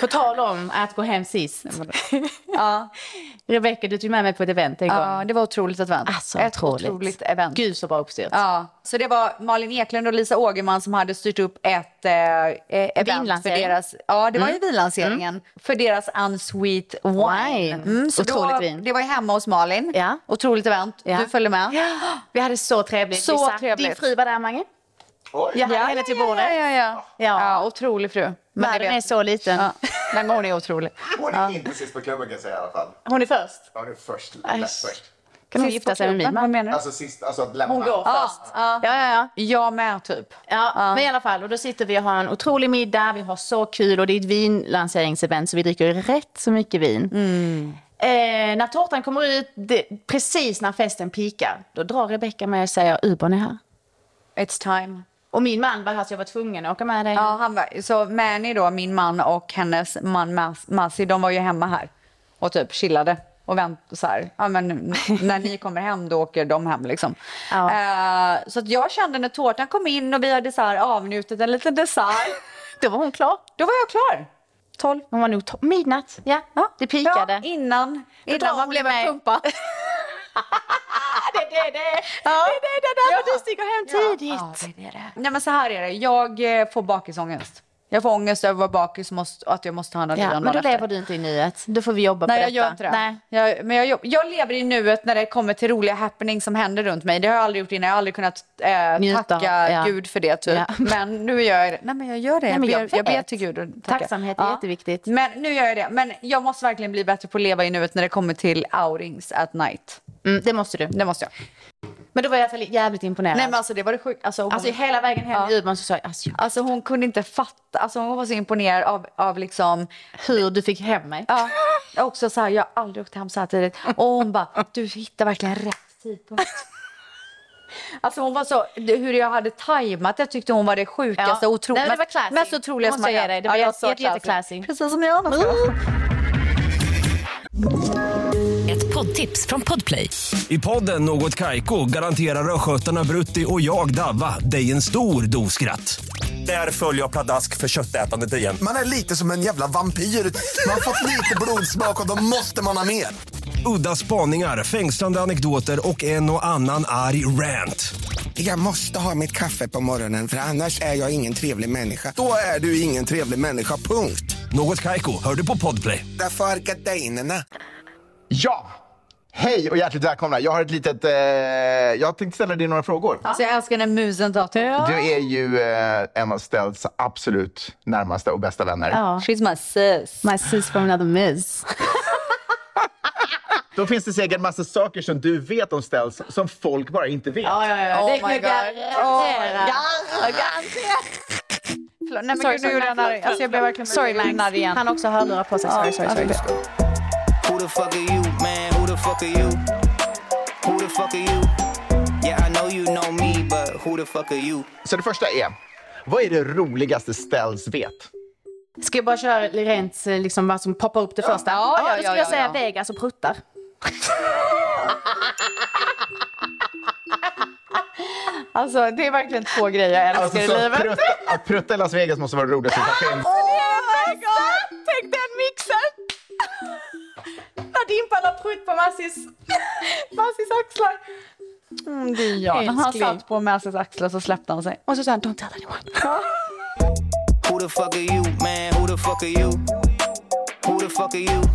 S4: På tal om att gå hem sist. ja. Rebecca, du tog med mig på ett event en gång.
S5: Ja, det var otroligt event.
S4: Alltså,
S5: Ett
S4: otroligt.
S5: otroligt event.
S4: Gud så bra uppstyrt.
S5: Ja, så det var Malin Eklund och Lisa Ågerman som hade styrt upp ett eh, eh, event för
S4: Vinlansering.
S5: deras, ja det var ju
S4: Mm.
S5: vinlanseringen, för deras Unsweet Wine.
S4: Wine. Mm, Otroligt
S5: då,
S4: vin.
S5: Det var ju hemma hos Malin, ja. otroligt event,
S4: Ja.
S5: du följde med.
S4: Vi hade så trevligt.
S5: Så
S4: Lisa, Din
S5: trevligt.
S4: fru var där Mange.
S5: Oj.
S4: Jag hade henne till bordet.
S5: Ja, ja, ja. ja. ja otrolig fru. Men
S4: Världen är så liten.
S5: Ja. Nej, men hon är otrolig.
S20: Hon är inte sist på klubben kan jag säga i alla fall.
S4: Hon är först.
S20: Ja, det är först.
S4: Aj.
S20: Lätt först.
S4: Kan hon gifta sig med min man?
S5: Vad menar du?
S20: Alltså sist, alltså att lämna.
S4: Hon går först. Ja, ja, ja.
S5: Jag med typ.
S4: Ja, men i alla fall. Och då sitter vi och har en otrolig middag, vi har så kul och det är ett vinlanseringsevent så vi dricker ju rätt så mycket vin.
S5: Mm.
S4: Eh, när tårtan kommer ut, det, precis när festen pikar, då drar Rebecca med och säger Ubern är här.
S5: It's time.
S4: Och min man var här så jag var tvungen att åka med dig.
S5: Ja, han var, så Mani då, min man och hennes man Mas- Masi, de var ju hemma här och typ chillade och väntade så här. Ja, men n- när ni kommer hem då åker de hem liksom. Eh, så att jag kände när tårtan kom in och vi hade så här avnjutit en liten dessert.
S4: Då var hon klar.
S5: Då var jag klar. Tolv.
S4: Hon var nog to- midnatt. Ja, det pikade.
S5: Ja, innan,
S4: drar
S5: innan
S4: hon
S5: man blev
S4: med.
S5: pumpad.
S4: det, det, det.
S5: Ja.
S4: det, det, det, det.
S5: Ja.
S4: Du sticker hem tidigt.
S5: Ja, det är det. Nej men så här är det, jag eh, får bakisångest. Jag får ångest över att vara bakis och måste- och att jag måste ta hand om
S4: Ja,
S5: Dilan
S4: men då
S5: dagen efter.
S4: lever du inte i nuet. Då får vi jobba
S5: Nej,
S4: på
S5: jag
S4: detta.
S5: gör inte det.
S4: Nej.
S5: Jag, men jag, jobb- jag lever i nuet när det kommer till roliga happenings som händer runt mig. Det har jag aldrig gjort innan. Jag har aldrig kunnat eh,
S4: Njuta,
S5: tacka
S4: ja.
S5: Gud för det. Typ.
S4: Ja.
S5: Men nu gör jag det. Nej, men jag gör det.
S4: Nej, men
S5: jag,
S4: jag
S5: ber, jag ber
S4: vet.
S5: till Gud och tackar.
S4: Tacksamhet är jätteviktigt.
S5: Men nu gör jag det. Men jag måste verkligen bli bättre på att leva i nuet när det kommer till outings at night.
S4: Mm, det måste du.
S5: Det måste jag.
S4: Men då var jag i alla fall jävligt imponerad.
S5: Nej, men alltså det var det sjukt. Alltså, hon-
S4: Alltså hela vägen hem i Umeå så sa jag, alltså, jag-
S5: Alltså hon kunde inte fatta, alltså hon var så imponerad av, av liksom...
S4: Hur du fick hem mig.
S5: Ja, också så här, jag har aldrig åkt hem så här tidigt. Och hon bara, du hittar verkligen rätt tidpunkt. Alltså hon var så, hur jag hade tajmat det tyckte hon var det sjukaste,
S4: Ja.
S5: otro,
S4: Nej, men det var
S5: mest,
S4: classy.
S5: mest otroliga
S4: Det
S5: som
S4: måste jag
S5: hade-
S4: ge dig. Det var
S5: jag
S4: jätte-
S5: sa classy.
S4: jätteclassy.
S5: Precis som jag annars ska vara.
S17: Ett poddtips från Podplay.
S21: I podden Något Kaiko garanterar östgötarna Brutti och jag, Davva, dig en stor dos skratt. Där följer jag pladask för köttätandet igen.
S22: Man är lite som en jävla vampyr. Man har fått lite blodsmak och då måste man ha mer.
S21: Udda spaningar, fängslande anekdoter och en och annan arg rant.
S23: Jag måste ha mitt kaffe på morgonen för annars är jag ingen trevlig människa. Då är du ingen trevlig människa, punkt.
S21: Något Kaiko, hör du på Podplay.
S23: Därför arkadeinerna.
S7: Ja! Hej och hjärtligt välkomna. Jag har ett litet... Eh, jag tänkte ställa dig några frågor.
S5: Alltså jag älskar när musen tar till.
S7: Du är ju eh, en av Stells absolut närmaste och bästa vänner.
S5: Ja. She's my sis. My sis from another miss.
S7: Då finns det säkert massa saker som du vet om Stells som folk bara inte vet.
S5: Ja, ja, ja.
S4: Oh
S5: det kan
S4: my
S5: jag
S4: God.
S5: garantera.
S4: Oh,
S5: Jag garanterar. Förlåt, nej men gud, nu gjorde han arg. Alltså jag blev verkligen
S4: Sorry, Max.
S5: arg igen.
S4: Han har också hörlurar på sig. Sorry, sorry, sorry.
S2: Who the fuck are you, man? Who the fuck are you? Who the fuck are you? Yeah, I know you know me, but who the fuck are you?
S7: Så det första är, vad är det roligaste Stells vet?
S4: Ska jag bara köra rent eh, liksom, vad som poppar upp det första?
S5: Ja, ja,
S4: då
S5: ja,
S4: skulle
S5: ja,
S4: jag säga
S5: ja.
S4: Vegas och pruttar.
S5: Alltså det är verkligen två grejer jag älskar
S7: Alltså,
S5: i
S7: så att
S5: livet.
S7: prutta, att prutta i Las Vegas måste vara det roligaste som finns.
S5: Oh my god! Tänk den mixen! När dimpan har prutt på Massis, Massis axlar. Mm, det är jag. När han
S2: Älskling.
S5: satt på Massis axlar så släppte han sig. Och så sa han don't tell anyone.
S2: Who the fuck are you, man? Who the fuck are you? Who the fuck are you?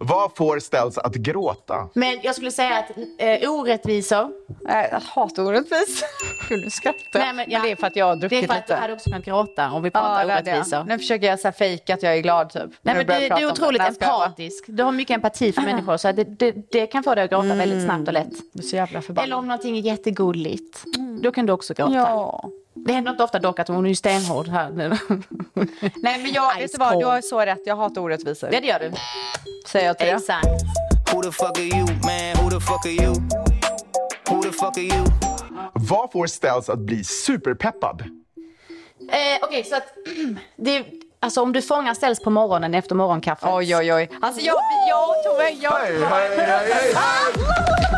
S7: Vad får Stells att gråta?
S4: Men jag skulle säga att eh, orättvisor.
S5: Jag hatar orättvisor. Gud, nu skrattar
S4: Nej, men, ja.
S5: Det är för att jag har druckit
S4: Det är för att
S5: lite.
S4: du hade också kunnat gråta om vi pratar
S5: det hade jag.
S4: orättvisor.
S5: Nu försöker jag så här fejka att jag är glad typ.
S4: Nej,
S5: Nu
S4: men du,
S5: börjar
S4: du
S5: jag prata
S4: är
S5: om
S4: otroligt
S5: det. Nej, jag skojar bara.
S4: empatisk. Du har mycket empati för människor. Så det, det, det kan få dig att gråta väldigt snabbt och lätt.
S5: Du Mm. är så jävla förbannad.
S4: Eller om någonting är jättegulligt. Då kan du också gråta.
S5: Ja.
S4: Det händer inte ofta dock att hon är ju stenhård här nu. Eh,
S5: Nej men jag, vet du vad, du har så rätt. Jag hatar orättvisor.
S4: Ja, det gör du.
S5: Säger jag till dig.
S4: Exakt.
S2: Who the fuck are you, man? Who the fuck are you? Who the fuck are you?
S7: Vad får Stells att bli superpeppad?
S4: Eh, Okej, så att... det, alltså om du fångar ställs på morgonen efter morgonkaffet.
S5: Oj, oj, oj. Alltså jag, jag och Tove, jag... Hej,
S7: hej, hej, hej.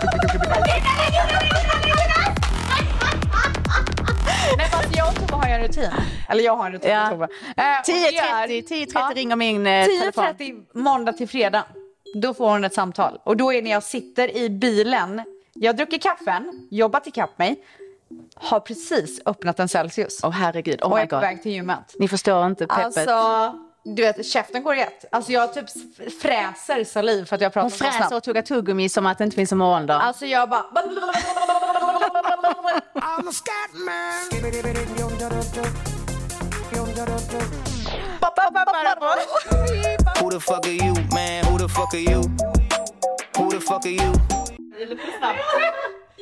S5: Nej men alltså jag och Tove har ju en rutin. Eller jag har en rutin med Tove. Eh, och det är-
S4: 10.30 10.30 ringer min eh, telefon.
S5: 10.30 måndag till fredag. Då får hon ett samtal. Och då är när jag sitter i bilen. Jag dricker kaffen, jobbat ikapp mig. Har precis öppnat en Celsius.
S4: Åh herregud, oh
S5: och
S4: my
S5: är på
S4: God.
S5: väg till gymmet.
S4: Ni förstår inte peppet.
S5: Alltså, du vet käften går rätt. Alltså jag typ fräser saliv för att jag pratar
S4: hon
S5: så snabbt.
S4: fräser och tuggar tuggummi som att det inte finns en morgondag.
S5: Alltså jag bara...
S23: I'm a scat
S2: Who the fuck are you, man? Who the fuck are you? Who the fuck are you?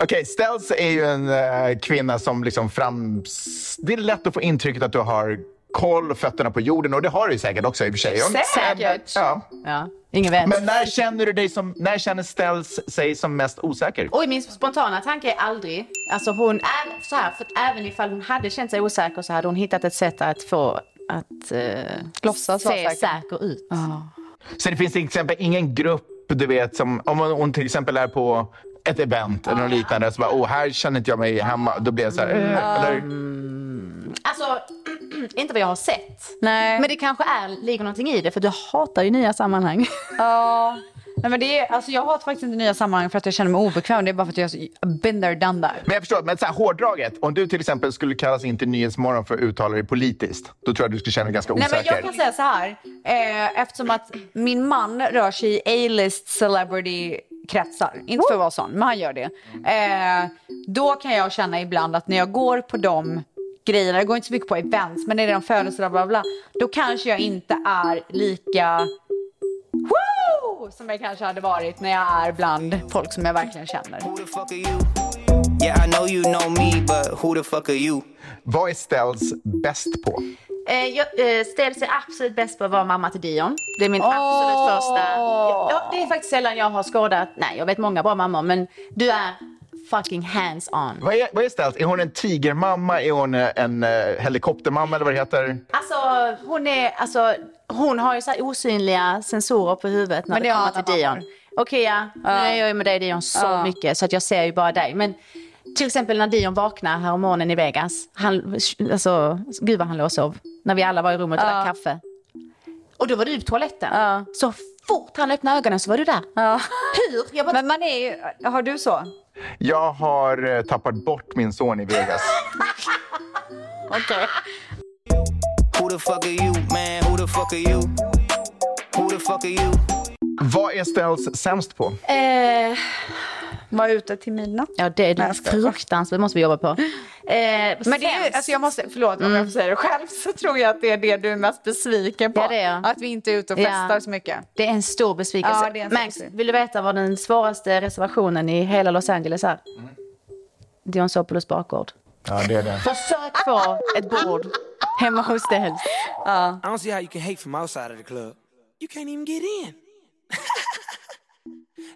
S7: Okej, Stells är ju en eh, kvinna som liksom frams... Det är lätt att få intrycket att du har koll, fötterna på jorden och det har du ju säkert också i och för sig.
S4: Säkert.
S7: Ja.
S4: Ja, ingen vet.
S7: Men när känner du dig som... När känner Stells sig som mest osäker?
S4: Oj, min spontana tanke är aldrig. Alltså hon är så här, för att även ifall hon hade känt sig osäker så hade hon hittat ett sätt att få att eh,
S5: Låtsas
S4: se
S5: vara
S4: säker,
S5: säker.
S4: ut.
S7: Så det finns till exempel ingen grupp, du vet, som om hon- hon till exempel är på ett event eller något liknande, så bara, åh, här känner inte jag mig hemma. Då blir jag så här, eh, eller,
S4: Alltså, inte vad jag har sett.
S5: Nej.
S4: Men det kanske är, ligger någonting i det, för du hatar ju nya sammanhang.
S5: Ja. Nej, men det är, alltså jag hatar faktiskt inte nya sammanhang för att jag känner mig obekväm. Det är bara för att jag är så been there, done that.
S7: Men jag förstår, men så här, hårdraget, om du till exempel skulle kallas in till Nyhetsmorgon för att uttala dig politiskt, då tror jag du skulle känna dig ganska
S5: Nej,
S7: osäker.
S5: men jag kan säga så här. Eh, eftersom att min man rör sig i A-list celebrity kretsar, inte för att vara sån, men han gör det. Eh, då kan jag känna ibland att när jag går på de grejerna, jag går inte så mycket på events, men när det är de födelsedagar, bla, bla, bla, då kanske jag inte är lika Woo! som jag kanske hade varit när jag är bland folk som jag verkligen känner.
S2: Yeah, I know you know me, but who the fuck are you?
S7: Vad är Stells bäst på?
S4: Eh, jag eh, ställs är absolut bäst på att vara mamma till Dion. Det är min absolut första. Ja, det är faktiskt sällan jag har skådat, nej jag vet många bra mammor, men du är fucking hands-on.
S7: Vad är, vad är Stells? Är hon en tigermamma? Är hon eh, en eh, helikoptermamma eller vad det heter?
S4: Alltså hon är, alltså hon har ju så här osynliga sensorer på huvudet när
S5: Men
S4: det,
S5: det har
S4: kommer
S5: alla
S4: till Dion.
S5: mammor.
S4: Okej ja, nu är jag ju med dig Dion så
S5: Ja.
S4: mycket så att jag ser ju bara dig. Men till exempel när Dion vaknar här om morgonen i Vegas, han, alltså gud vad han låg och sov. När vi alla var i rummet och
S5: Ja.
S4: drack kaffe. Och då var du på toaletten. Så fort han öppnade ögonen så var du där. Hur? Jag bara...
S5: Men man är ju, har du så?
S7: Jag har eh, tappat bort min son i Vegas.
S4: Okay.
S2: Who the fuck are you, man? Who the fuck are you? Who the fuck are you?
S7: Vad är Stells sämst på?
S5: Eh, var ute till midnatt.
S4: Ja, det
S5: Nej,
S4: är
S5: jag skojar.
S4: fruktansvärt. Det måste vi jobba på.
S5: men det är ju, alltså jag måste, förlåt om
S4: Mm.
S5: jag får säga det själv, så tror jag att det är det du är mest besviken på.
S4: Ja, det är jag.
S5: Att vi inte är ute och
S4: Ja.
S5: festar så mycket.
S4: Det är en stor besvikelse.
S5: Ja, det är en stor
S4: Max, vill du veta vad den svåraste reservationen i hela Los Angeles är? Dionysopoulos bakgård.
S7: Ja, det är det.
S4: Försök få ett bord hemma hos dig. Ja.
S1: I don't see how you can hate from outside of the club. You can't even get in.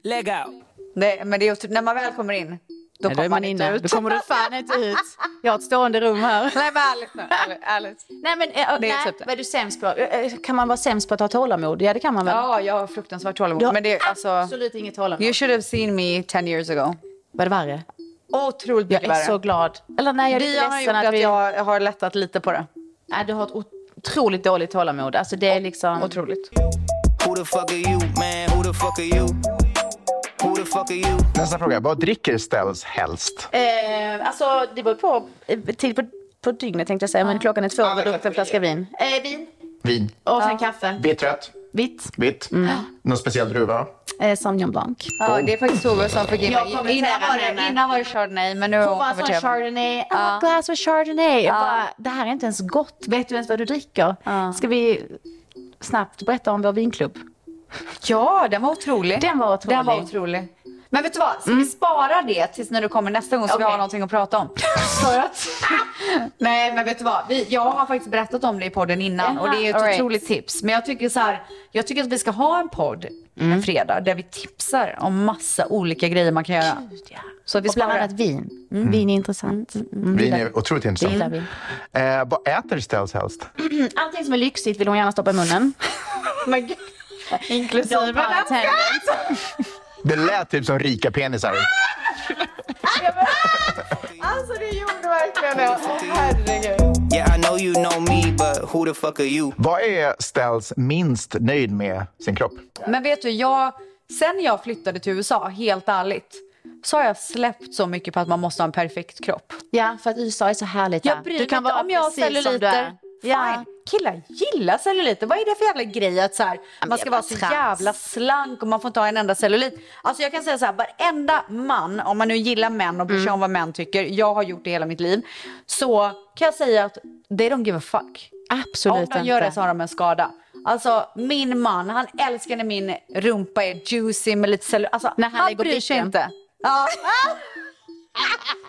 S1: Leg out.
S5: Det, men det är just, när man väl kommer in, då
S4: Nej, då är
S5: kommer
S4: man
S5: man inte
S4: inne.
S5: ut.
S4: Då kommer du fan inte ut. Jag har ett stående rum här.
S5: Nej men ärligt nu, ärligt. ärligt.
S4: Nej men eh,
S5: Det är
S4: nej,
S5: typ det.
S4: vad är du sämst på? Eh, eh, Kan man vara sämst på att ha tålamod? Ja det kan man väl?
S5: Ja, jag har fruktansvärt tålamod.
S4: Du har
S5: men det, är alltså,
S4: absolut inget tålamod.
S5: You should have seen me 10 years ago.
S4: Var det värre?
S5: Otroligt mycket
S4: Jag är
S5: värre.
S4: så glad. Eller nej, jag är
S5: Vi
S4: lite
S5: har
S4: ledsen
S5: gjort
S4: att
S5: att
S4: vi...
S5: jag har lättat lite på det.
S4: Nej, du har ett otroligt dåligt tålamod. Alltså det är liksom...
S5: Otroligt.
S2: Who the fuck are you, man? Who the fuck are you? Who the fuck are you?
S7: Nästa fråga. Vad dricker Stells helst?
S4: Eh, alltså det beror på eh, tid på, på dygnet tänkte jag säga. Men klockan är två och druckit en flaska vin. Eh, vin
S7: Vin.
S4: och sen kaffe.
S7: Vitt, rött?
S4: Vitt. Mm.
S7: Vitt. Någon speciell druva?
S4: Eh, Sauvignon Blanc.
S5: Ja, det är faktiskt Tove som fick in
S4: Jag
S5: mig.
S4: kommenterar
S5: Innan var, det,
S4: henne.
S5: innan var det Chardonnay, men nu har
S4: Hon
S5: hon
S4: var en sån
S5: konverterat.
S4: Chardonnay. I want a glass of Chardonnay. Jag bara, det här är inte ens gott. Vet du ens vad du dricker? Ska vi snabbt berätta om vår vinklubb?
S5: Ja, den var otrolig.
S4: Den var otrolig. Mm.
S5: Den var otrolig. Men vet du vad, ska vi spara det tills när du kommer nästa gång så vi har någonting att prata om? För att... Nej men vet du vad, vi, jag har faktiskt berättat om det i podden innan och det är ju ett
S4: All right.
S5: otroligt tips. Men jag tycker så här, jag tycker att vi ska ha en podd
S4: Mm.
S5: en fredag där vi tipsar om massa olika grejer man kan göra. Så vi
S4: Och bland
S5: sparar.
S4: annat vin. Vin är intressant. Mm.
S7: Vin är otroligt
S4: Gillar
S7: intressant.
S4: vi.
S7: Eh, vad äter Stells helst?
S4: Allting som är lyxigt vill hon gärna stoppa i munnen.
S5: Men gud. Inklusive
S4: Don't power tangent.
S7: Det lät typ som rika penisar.
S5: Alltså det gjorde verkligen det. Åh herregud.
S2: Yeah, I know you know me, but who the fuck are you?
S7: Vad är Stells minst nöjd med sin kropp?
S5: Men vet du, jag, sen jag flyttade till USA, helt ärligt, så har jag släppt så mycket på att man måste ha en perfekt kropp.
S4: Ja, för att USA är så härligt
S5: Jag
S4: där.
S5: bryr
S4: Du kan
S5: mig inte
S4: vara
S5: om jag har
S4: precis som du är.
S5: celluliter.
S4: Ja.
S5: Fine. Killar gillar celluliter. Vad är det för jävla grej att så här, man ska
S4: jävla
S5: vara så
S4: trams.
S5: jävla slank och man får inte ha en enda cellulit. Alltså jag kan säga så här, varenda man, om man nu gillar män och bryr
S4: Mm.
S5: sig om vad män tycker, jag har gjort det hela mitt liv, så kan jag säga att they don't give a fuck.
S4: Absolut
S5: Om de gör
S4: inte.
S5: det så har de en skada. Alltså min man, han älskar när min rumpa är juicy med lite cellulit. Alltså,
S4: När han lägger
S5: bryr sig
S4: blicken.
S5: inte. Ja.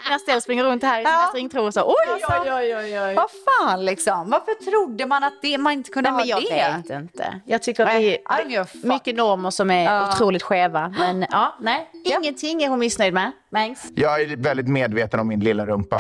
S4: När Stells springer runt här i sina stringtrosor. Oj, oj, oj, oj, oj.
S5: Vad fan liksom, varför trodde man att det, man inte kunde
S4: Nej, men
S5: ha
S4: jag
S5: det?
S4: vet inte. Jag tycker att det
S5: I don't give a fuck.
S4: är mycket normer som är
S5: Ja.
S4: otroligt skeva. Men ja, nej. Ingenting är hon missnöjd med. Mangs.
S7: Jag är väldigt medveten om min lilla rumpa.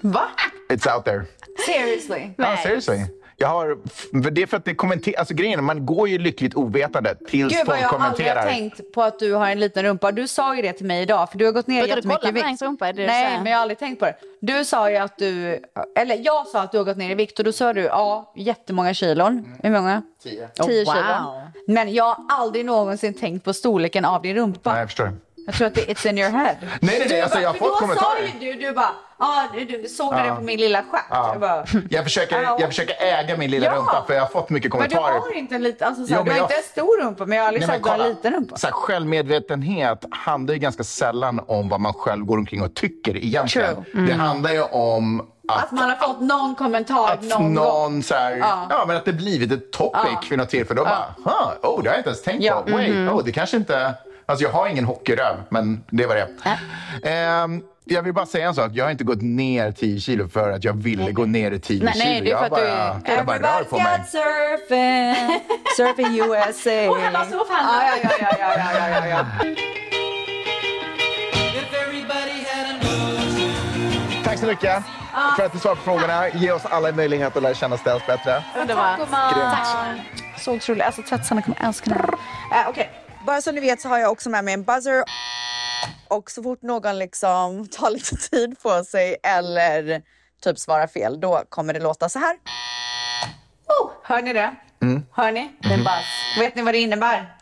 S5: Va?
S7: It's out there.
S5: Seriously.
S7: Ja, seriously. Jag har, för det är för att det kommenterar, alltså grejen är, man går ju lyckligt ovetande tills
S5: Gud vad
S7: folk
S5: jag aldrig har
S7: kommenterar.
S5: tänkt på att du har en liten rumpa. Du sa ju det till mig idag för du har gått ner
S4: Brukar du kolla
S5: jättemycket i
S4: på Mangs rumpa? Är det det du
S5: Nej,
S4: säger?
S5: men jag har aldrig tänkt på det. Du sa ju att du, eller jag sa att du har gått ner i vikt och då sa du ja, jättemånga kilon. Hur många?
S7: Mm. Tio.
S5: Tio
S4: Oh, wow.
S5: kilon. Men jag har aldrig någonsin tänkt på storleken av din rumpa.
S7: Nej, jag förstår.
S5: Jag tror att det it's in your head. Nej,
S7: nej, nej, alltså, jag har fått
S5: Då
S7: kommentarer.
S5: sa ju du, du bara, ja, du, du såg du
S7: Ja.
S5: det på min lilla stjärt? Jag bara,
S7: Ja. Jag, försöker, jag försöker äga min lilla
S5: Ja.
S7: rumpa för jag har fått mycket
S5: men du
S7: kommentarer.
S5: har inte en liten, alltså
S7: Jo,
S5: såhär, du
S7: men
S5: har
S7: jag-
S5: inte en stor rumpa men jag har aldrig
S7: Nej,
S5: sagt
S7: men
S5: att du har en
S7: kolla.
S5: liten rumpa.
S7: Så här, självmedvetenhet handlar ju ganska sällan om vad man själv går omkring och tycker egentligen.
S5: True. Mm.
S7: Det handlar ju om att,
S5: Att man har fått någon kommentar
S7: att
S5: någon,
S7: någon,
S5: gång.
S7: så här,
S5: Ja.
S7: ja. men att det blivit ett topic
S5: Ja.
S7: vid något tillfälle. Då bara, huh, oh, det har jag inte ens tänkt
S5: Ja.
S7: på. Wait,
S5: Mhm.
S7: oh, det kanske inte... Alltså jag har ingen hockeyröv, men det var det Ehm, jag vill bara säga en sak. Jag har inte gått ner 10 kilo för att jag ville gå ner i 10
S5: Nej,
S7: kilo.
S5: nej, det är för
S7: jag
S5: att
S7: bara,
S5: du är...
S7: Jag bara rör på mig.
S5: surfing, surfing USA.
S14: Hon kan bara stå och förhandla.
S5: Ja, ja, ja, ja, ja, ja, ja, ja.
S14: If everybody had a notion.
S7: Tack så mycket för att du svarade på frågorna. Ge oss alla en möjlighet att lära känna Ställs bättre.
S5: Tack gumman.
S7: Grymt.
S5: Tack. Så otroligt. Alltså tvättsarna kommer älska den.
S19: Eh, Okej, bara så ni vet så har jag också med mig en buzzer. Och så fort någon liksom tar lite tid på sig eller typ svarar fel, då kommer det låta så här.
S5: Oh, hör ni det?
S7: Mm. Ah.
S5: Hör ni? Den buzz. Vet ni vad det innebär?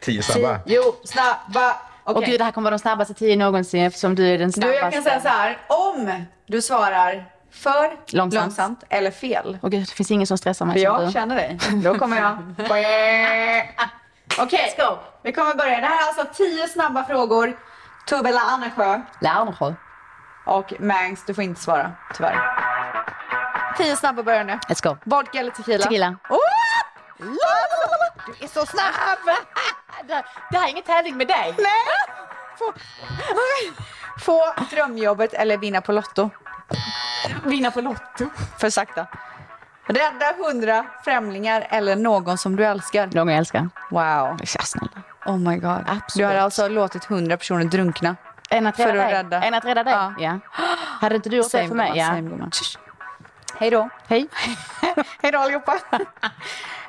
S7: Tio snabba.
S5: Jo, snabba. Okej.
S4: Och gud, det här kommer vara de snabbaste tio någonsin eftersom du är den
S5: Du,
S4: snabbaste.
S5: jag kan säga så här. Om du svarar för långsamt,
S4: Långsamt.
S5: eller fel.
S4: Åh gud, det finns ingen som stressar mig
S5: För
S4: som
S5: jag
S4: du.
S5: känner dig. Då kommer jag... Okej, vi kommer börja. Det här är alltså tio snabba frågor. Tubbe Larnesjö. Larnesjö. Och Mangs, du får inte svara, tyvärr. Tio snabba börjar nu.
S4: Let's go.
S5: Vodka eller tequila?
S4: Tequila.
S5: Oh! Du är så snabb!
S4: Det- Det här är ingen tävling med dig.
S5: Nej! Få, få drömjobbet eller vinna på Lotto? Vinna på Lotto. För sakta. Rädda hundra främlingar eller någon som du älskar?
S4: Någon jag älskar.
S5: Wow.
S4: snälla.
S5: Oh my god. Du har alltså låtit hundra personer drunkna.
S4: Än att rädda
S5: för att
S4: dig.
S5: rädda.
S4: Än att rädda dig. Ja. Hade inte du gjort det
S5: Same
S4: för mig?
S5: gumman,
S4: Ja.
S5: same gumman. Hej då.
S4: Hej.
S5: Hej då allihopa.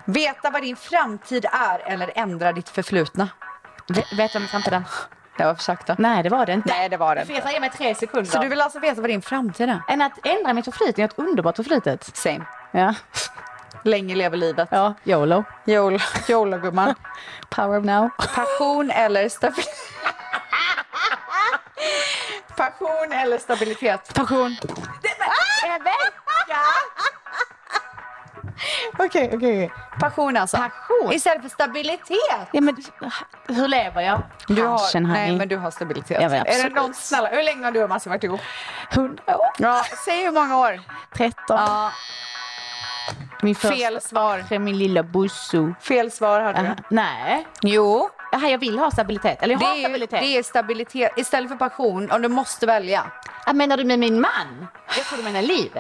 S5: Veta vad din framtid är eller ändra ditt förflutna?
S4: veta min framtid är?
S5: Det var för sakta.
S4: Nej, det var det inte.
S5: Nej, det var det
S4: Du får gärna ge mig tre sekunder.
S5: Så du vill alltså veta vad din framtid är?
S4: Än att ändra mitt förflutna. Jag har ett underbart förflutet.
S5: Same.
S4: Ja.
S5: Länge lever livet.
S4: Ja, YOLO.
S5: YOLO, YOLO gumman.
S4: Power of now.
S5: Passion eller stabilitet? Passion eller stabilitet? Ah!
S4: Passion.
S5: Rebecka! Okej, okej. okej. Passion alltså. Passion. Istället för stabilitet.
S4: Ja, men hur lever jag?
S5: Du har,
S4: Passion,
S5: nej,
S4: honey.
S5: men du har stabilitet.
S4: Ja, men
S5: är det
S4: absolut.
S5: någon, snälla, hur länge har du och Massi varit ihop?
S4: 100 år.
S5: Ja, säg hur många år?
S4: 13.
S5: Ja,
S4: Min
S5: fel svar.
S4: För min lilla busso.
S5: Fel svar hade du.
S4: Aha, Nej.
S5: Jo.
S4: Aha, jag vill ha stabilitet. Eller jag
S5: Det
S4: har
S5: är, ju-
S4: stabilitet.
S5: det är stabilitet istället för passion, om du måste välja.
S4: Ah, Menar du med min man? Jag tror du menar livet.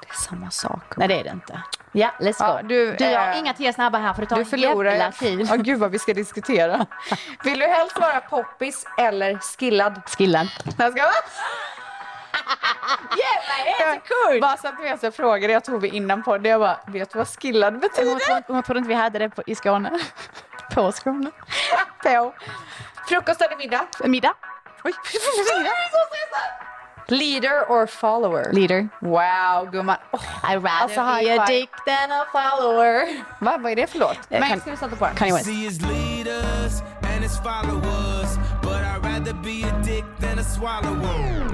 S5: Det är samma sak.
S4: Nej, det är det inte. Ja, let's go.
S5: Ja, du,
S4: du, jag har
S5: eh,
S4: inga tio snabba här för det tar
S5: Du förlorar.
S4: en jävla tid.
S5: Ja, gud vad vi ska diskutera. Vill du helst vara poppis eller skillad?
S4: Skillad.
S5: Jag ska vara.
S4: Jävlar, en sekund!
S5: Bara så att du vet, jag frågade, jag tog vi innan på det. Jag bara, vet du vad skillad
S4: Hon
S5: betyder?
S4: trodde, hon trodde inte vi hade det på, i Skåne. På Skåne.
S5: På. Frukost eller middag?
S4: Middag.
S5: Oj, middag. Leader or follower?
S4: Leader.
S5: Wow, gumman. Oh,
S4: I rather
S5: Alltså, high
S4: be a
S5: five.
S4: dick than a follower.
S5: va, vad är det för låt?
S4: Eh,
S5: Men
S4: kan-
S5: ska vi sätta på den?
S4: Kanye West.
S3: See his leaders and his followers, but I'd rather be a dick than a swallower.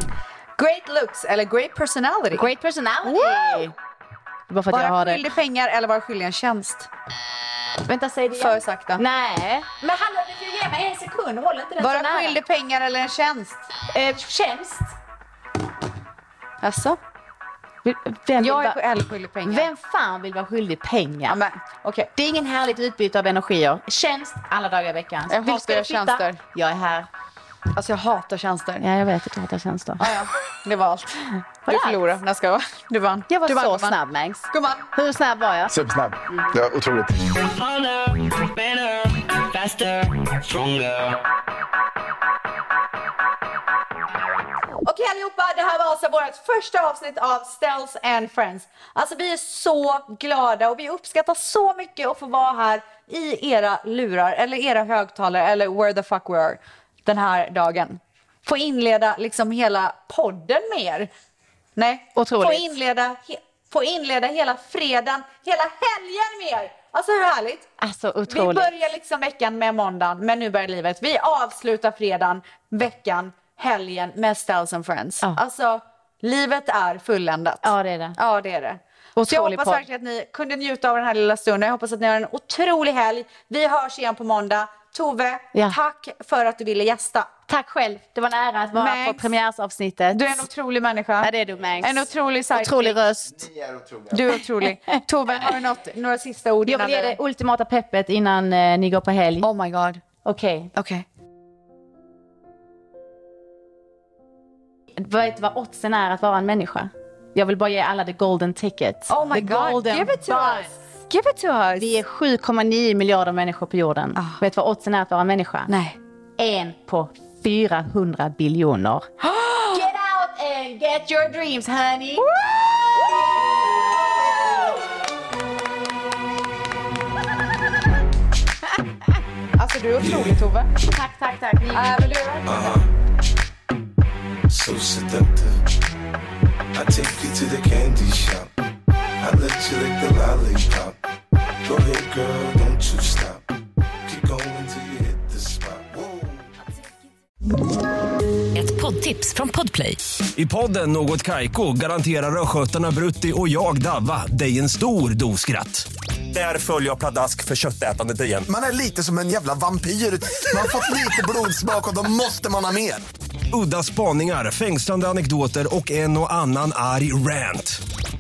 S5: Great looks eller great personality?
S4: Great personality. Det är Bara för att jag har
S5: Vara
S4: det.
S5: skyldig pengar eller vara skyldig en tjänst?
S4: Vänta, säg det igen.
S5: För sakta.
S4: Nej. Men hallå, du får ju ge mig en sekund. Håll inte den så
S5: Vara
S4: nära.
S5: skyldig pengar eller en tjänst?
S4: Eh, tjänst.
S5: Alltså?
S4: Vem,
S5: Jag
S4: vill
S5: är
S4: va-
S5: själv skyldig pengar.
S4: vem fan vill vara skyldig pengar?
S5: Ja, men, okej.
S4: Det är ingen härligt utbyte av energier. Tjänst alla dagar i veckan.
S5: Jag
S4: Vill-
S5: hatar
S4: ska du flytta?
S5: tjänster.
S4: Jag är här.
S5: Alltså jag hatar tjänster.
S4: Ja, jag vet att du hatar tjänster.
S5: Ah, ja. Det var allt. Du
S4: allt?
S5: förlorade. Nej, jag skojar. Du vann.
S4: Jag var
S5: du vann,
S4: så
S5: gumman.
S4: snabb, Mangs.
S5: Gumman.
S4: Hur snabb var jag?
S7: Supersnabb. Ja, otroligt.
S5: Okej allihopa, det här var alltså vårt första avsnitt av Stells and Friends. Alltså vi är så glada och vi uppskattar så mycket att få vara här i era lurar eller era högtalare eller where the fuck we are den här dagen. Få inleda liksom hela podden med er. Nej,
S4: Otroligt.
S5: få inleda, he- få inleda hela fredagen, hela helgen med er. Alltså hur härligt?
S4: Alltså
S5: Vi
S4: otroligt.
S5: börjar liksom veckan med måndagen, men nu börjar livet. Vi avslutar fredagen, veckan, helgen med Stells and Friends.
S4: Ja.
S5: Alltså, livet är fulländat.
S4: Ja, det är det.
S5: Ja, det är det.
S4: Otrolig
S5: Så jag hoppas
S4: podd.
S5: verkligen att ni kunde njuta av den här lilla stunden. Jag hoppas att ni har en otrolig helg. Vi hörs igen på måndag. Tove,
S4: Ja.
S5: tack för att du ville gästa.
S4: Tack själv. Det var en ära att vara
S5: Mangs.
S4: på premiärsavsnittet.
S5: Du är en otrolig människa.
S4: Ja, det är du, Mangs.
S5: En otrolig sidekick.
S4: Otrolig röst.
S20: Ni är otroliga.
S5: Du är otrolig. Tove, har du något, några sista ord
S4: Jag vill ge
S5: innan
S4: dig
S5: du-
S4: ultimata peppet innan eh, ni går på helg.
S5: Oh my god.
S4: Okej.
S5: Okej.
S4: Vet du vad oddsen är att vara en människa? Jag vill bara ge alla the golden ticket.
S5: Oh my
S4: the
S5: god,
S4: golden
S5: give it to
S4: bus.
S5: us! Give it to us!
S4: Vi är 7,9 miljarder människor på jorden. Vet du vad oddsen är att vara en människa?
S5: Nej.
S4: En på 400 biljoner. Get out and get your dreams honey!
S5: Alltså du är otrolig Tove.
S4: Tack, tack, tack. Ni-
S5: Äh, men du är verkligen det.
S6: so seductive. I take you to the candy shop. I let you lick the lollipop. Go ahead, girl, don't you stop. Keep going till you hit the spot. Whoa.
S17: Ett poddtips från Podplay.
S21: I podden Något Kaiko garanterar östgötarna Brutti och jag, Davva, dig en stor dos skratt. Där följer jag pladask för köttätandet igen.
S22: Man är lite som en jävla vampyr. Man har fått lite blodsmak och då måste man ha mer.
S21: Udda spaningar, fängslande anekdoter och en och annan arg rant.